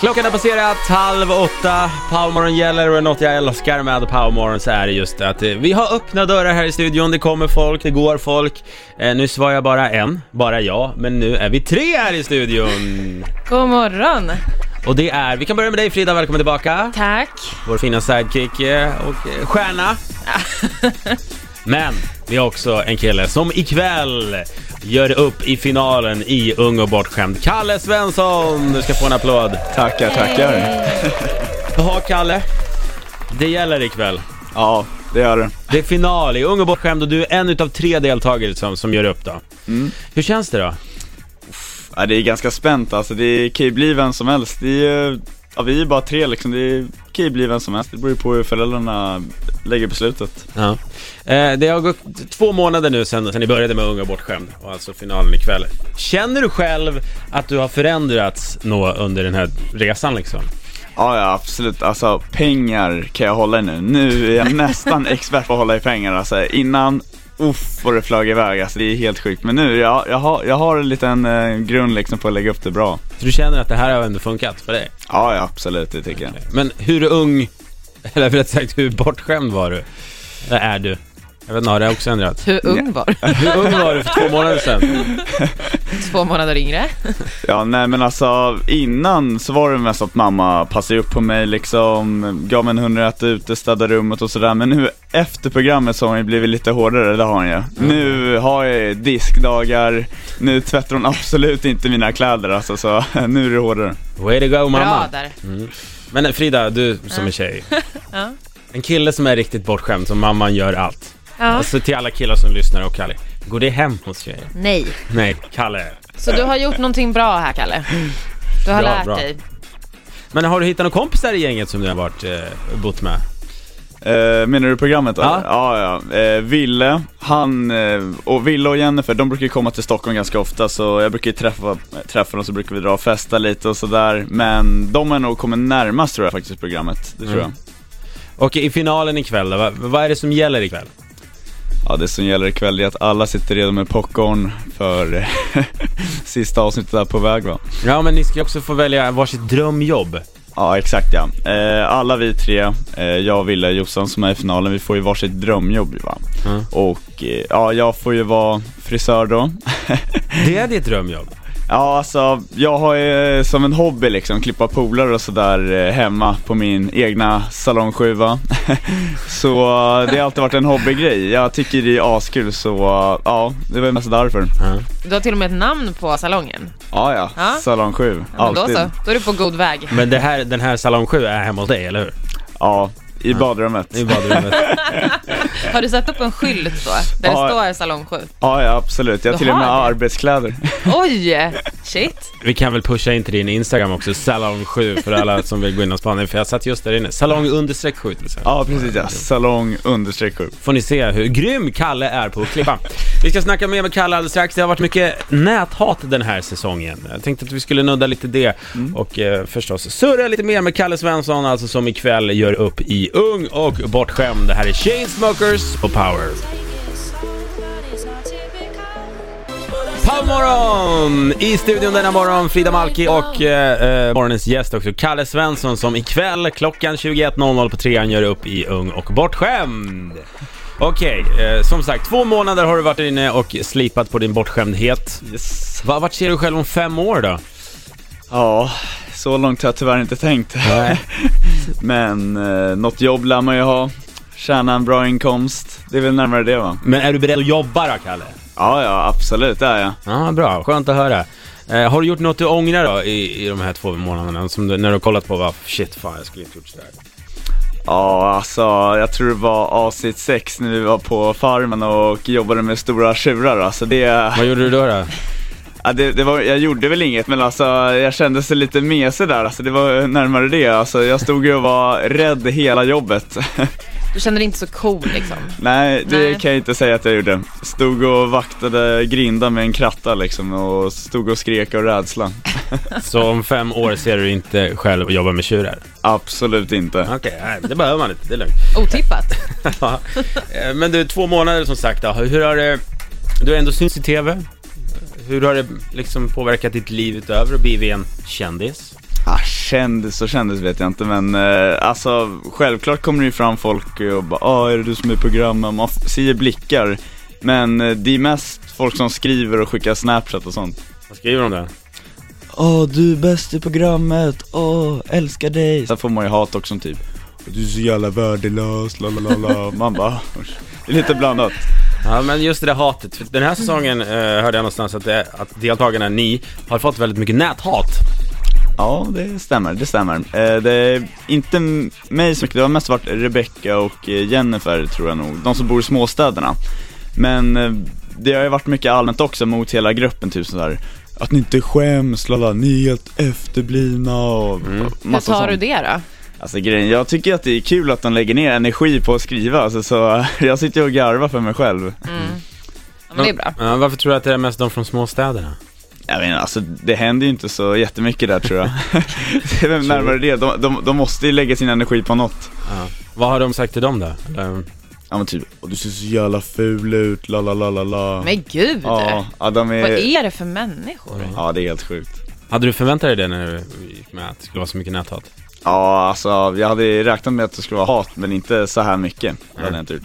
Klockan har passerat halv åtta, Powermorgon gäller och något jag älskar med Powermorgon så är det just att eh, vi har öppna dörrar här i studion, det kommer folk, det går folk. Eh, nu svarar jag bara en, bara jag, men nu är vi tre här i studion. God morgon! Och det är, vi kan börja med dig Frida, välkommen tillbaka. Tack! Vår fina sidekick eh, och eh, stjärna. Men vi har också en kille som ikväll gör upp i finalen i Ung och bortskämd. Kalle Svensson! Du ska få en applåd. Tackar, tackar. Jaha Kalle, det gäller ikväll. Ja, det gör det. Det är final i Ung och bortskämd och du är en utav tre deltagare som, som gör upp då. Hur känns det då? Ja, det är ganska spänt alltså. Det kan ju bli vem som helst. Det är, ju- ja, vi är ju bara tre liksom. Det kan ju bli vem som helst. Det beror ju på hur föräldrarna lägger beslutet. Ja. Eh, det har gått två månader nu sedan, sedan ni började med Unga bortskämd och alltså finalen ikväll. Känner du själv att du har förändrats nå under den här resan liksom? Ja, ja absolut. Alltså pengar kan jag hålla i nu. Nu är jag nästan expert på att hålla i pengar alltså. Innan, uff vad det flög iväg alltså. Det är helt sjukt. Men nu, jag, jag, har, jag har en liten eh, grund liksom på att lägga upp det bra. Så du känner att det här har ändå funkat för dig? Ja, ja absolut. Det tycker jag. Men hur ung, eller rätt sagt hur bortskämd var du? Eller är du? Jag vet inte, har det också ändrats? Typ. Hur ung var du? Hur ung var du för två månader sedan? Två månader yngre. Ja, nej men alltså innan så var det mest att mamma passade upp på mig liksom, gav mig en hundralapp ute, städade rummet och sådär. Men nu efter programmet så har hon ju blivit lite hårdare, det har hon ju. Nu har jag diskdagar, nu tvättar hon absolut inte mina kläder alltså, så nu är det hårdare. Way to go mamma! Bra där. Men Frida, du som är tjej. Ja. En kille som är riktigt bortskämd, som mamman gör allt. Ja. Alltså till alla killar som lyssnar och Kalle. Går det hem hos tjejer? Nej. Nej, Kalle. Så du har gjort någonting bra här, Kalle. Du har Bra, lärt bra. dig. Men har du hittat några kompisar i gänget som du har varit, eh, bott med? Eh, menar du programmet då? Ja. Ja, ja. Eh, Ville, han, eh, och Ville och Jennifer, de brukar ju komma till Stockholm ganska ofta så jag brukar ju träffa, träffa dem så brukar vi dra och festa lite och sådär. Men de har nog kommit närmast tror jag faktiskt programmet, det tror Mm. jag. Och i finalen ikväll då, vad, vad är det som gäller ikväll? Ja, det som gäller ikväll är att alla sitter redo med popcorn för sista avsnittet där på väg va? Ja men ni ska ju också få välja varsitt drömjobb. Ja, exakt ja. Eh, alla vi tre, eh, jag, Wille och Jossan som är i finalen, vi får ju varsitt drömjobb ju, va? Mm. Och eh, ja, jag får ju vara frisör då. Det är ditt drömjobb. Ja, alltså jag har ju som en hobby liksom klippa polare och sådär eh, hemma på min egna salongsjuva. så eh, det har alltid varit en hobbygrej. Jag tycker det är askul så eh, ja, det var mest därför. Ja. Du har till och med ett namn på salongen. Ja, ja, Ja. salonsjuv. Ja, men då alltid. så. Då är du på god väg. Men det här, den här Salong 7 är hemma hos dig, eller hur? Ja, i badrummet. I badrummet. Har du satt upp en skylt då? Där Ja. det står salong 7? Ja, ja absolut. Jag har till och med Jaha. arbetskläder. Oj! Shit. Vi kan väl pusha in till din Instagram också, Salong 7 för alla som vill gå in och spana för jag satt just där inne. Salong understreck 7 till exempel. Ja, precis ja. Salong understreck sjuv. får ni se hur grym Kalle är på att klippa. Vi ska snacka mer med Kalle alldeles strax. Det har varit mycket näthat den här säsongen. Jag tänkte att vi skulle nudda lite det och eh, förstås surra lite mer med Kalle Svensson, alltså som ikväll gör upp i Ung och bortskämd. Det här är Chainsmokers på Power. Powermorgon! I studion denna morgon, Frida Malki och eh, eh, morgonens gäst också, Kalle Svensson som ikväll klockan 21.00 på trean gör upp i Ung och bortskämd. Okej, eh, som sagt, två månader har du varit inne och slipat på din bortskämdhet. Yes. Va, vart ser du själv om fem år då? Ja, så långt har jag tyvärr inte tänkt. Nej. Men eh, något jobb lär man ju ha. Tjäna en bra inkomst. Det är väl närmare det va? Men är du beredd att jobba då, Kalle? Ja, ja absolut, det är jag. Ja, bra. Skönt att höra. Eh, har du gjort något du ångrar då i, i de här två månaderna? Som du, när du har kollat på, vad shit, fan jag skulle inte gjort sådär. Ja, alltså jag tror det var avsnitt 6 när vi var på farmen och jobbade med stora tjurar. Alltså det... Vad gjorde du då? då? Ja, det, det var, jag gjorde väl inget men alltså jag kände sig lite mesig där, alltså, det var närmare det. Alltså, jag stod ju och var rädd hela jobbet. Du känner dig inte så cool liksom. Nej, det Nej. kan jag inte säga att jag gjorde. Stod och vaktade grindar med en kratta liksom och stod och skrek av rädsla. Så om fem år ser du inte själv jobba med tjurar? Absolut inte. Okej, nej, det behöver man inte. Det är lugnt. Otippat. Ja. Eh, Men du, två månader som sagt då. Hur har det... Du har ändå synts i TV. Hur har det liksom påverkat ditt liv utöver att bli en kändis? Ah, kändis och kändis vet jag inte men eh, alltså självklart kommer det ju fram folk och bara ah, är det du som är i programmet? Man f- ser blickar. Men eh, det är mest folk som skriver och skickar snapchat och sånt. Vad skriver de där? Åh, du är bäst i programmet, åh, älskar dig. Sen får man ju hat också typ. Du är så jävla värdelös, la la la la. Man bara, "Ah, usch. det är lite blandat. Ja men just det där hatet, för den här säsongen eh, hörde jag någonstans att, det, att deltagarna, ni, har fått väldigt mycket näthat. Ja, det stämmer, det stämmer. Eh, det är inte m- mig så mycket, det har mest varit Rebecca och eh, Jennifer tror jag nog, de som bor i småstäderna. Men eh, det har ju varit mycket allmänt också mot hela gruppen, typ sådär att ni inte skäms, lala, ni är helt efterblivna och mm. Hur tar du det då? Alltså grejen, jag tycker att det är kul att de lägger ner energi på att skriva, alltså, så jag sitter ju och garvar för mig själv. Ja, men det är bra. Ja, varför tror du att det är mest de från småstäderna? Jag menar, alltså det händer ju inte så jättemycket där tror jag. det är väl närmare det, de, de, de måste ju lägga sin energi på något. Ja. Vad har de sagt till dem då? Eh, Eller, Ja men typ, "Åh, du ser så jävla ful ut, la la la la la. Men gud! Ja, ja, de Vad är... är det för människor? Ja, det är helt sjukt. hade du förväntat dig det när du gick med att det skulle vara så mycket näthat? Ja, alltså jag hade ju räknat med att det skulle vara hat, men inte så här mycket. Det hade jag inte gjort.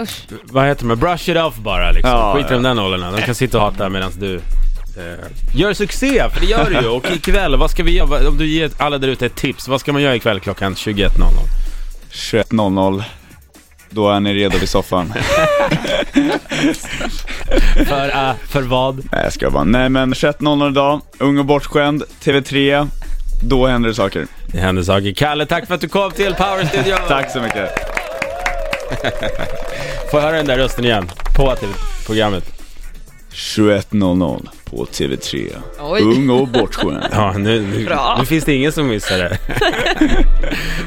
Usch. Vad heter de? Brush it off bara liksom. Ja, Skit i de där nollorna. De kan sitta och hata medan du eh, gör succé, för det gör du ju. Och ikväll, vad ska vi göra? Om du ger alla där ute ett tips, vad ska man göra ikväll klockan 21.00? 21.00, då är ni redo vid soffan. För, eh, för vad? Nej jag skojar bara. Nej men 21.00 idag, Ung och bortskämd, TV3, då händer det saker. Det händer saker. Kalle, tack för att du kom till Power Studio. Tack så mycket. Får jag höra den där rösten igen? På till programmet. 21.00 på TV3, Oj. Ung och bortskämd. Ja, nu, nu, Bra. nu finns det ingen som missar det.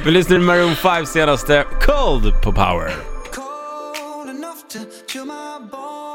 Vi lyssnar till Maroon 5 senaste Cold på Power. cold enough to chill my bones.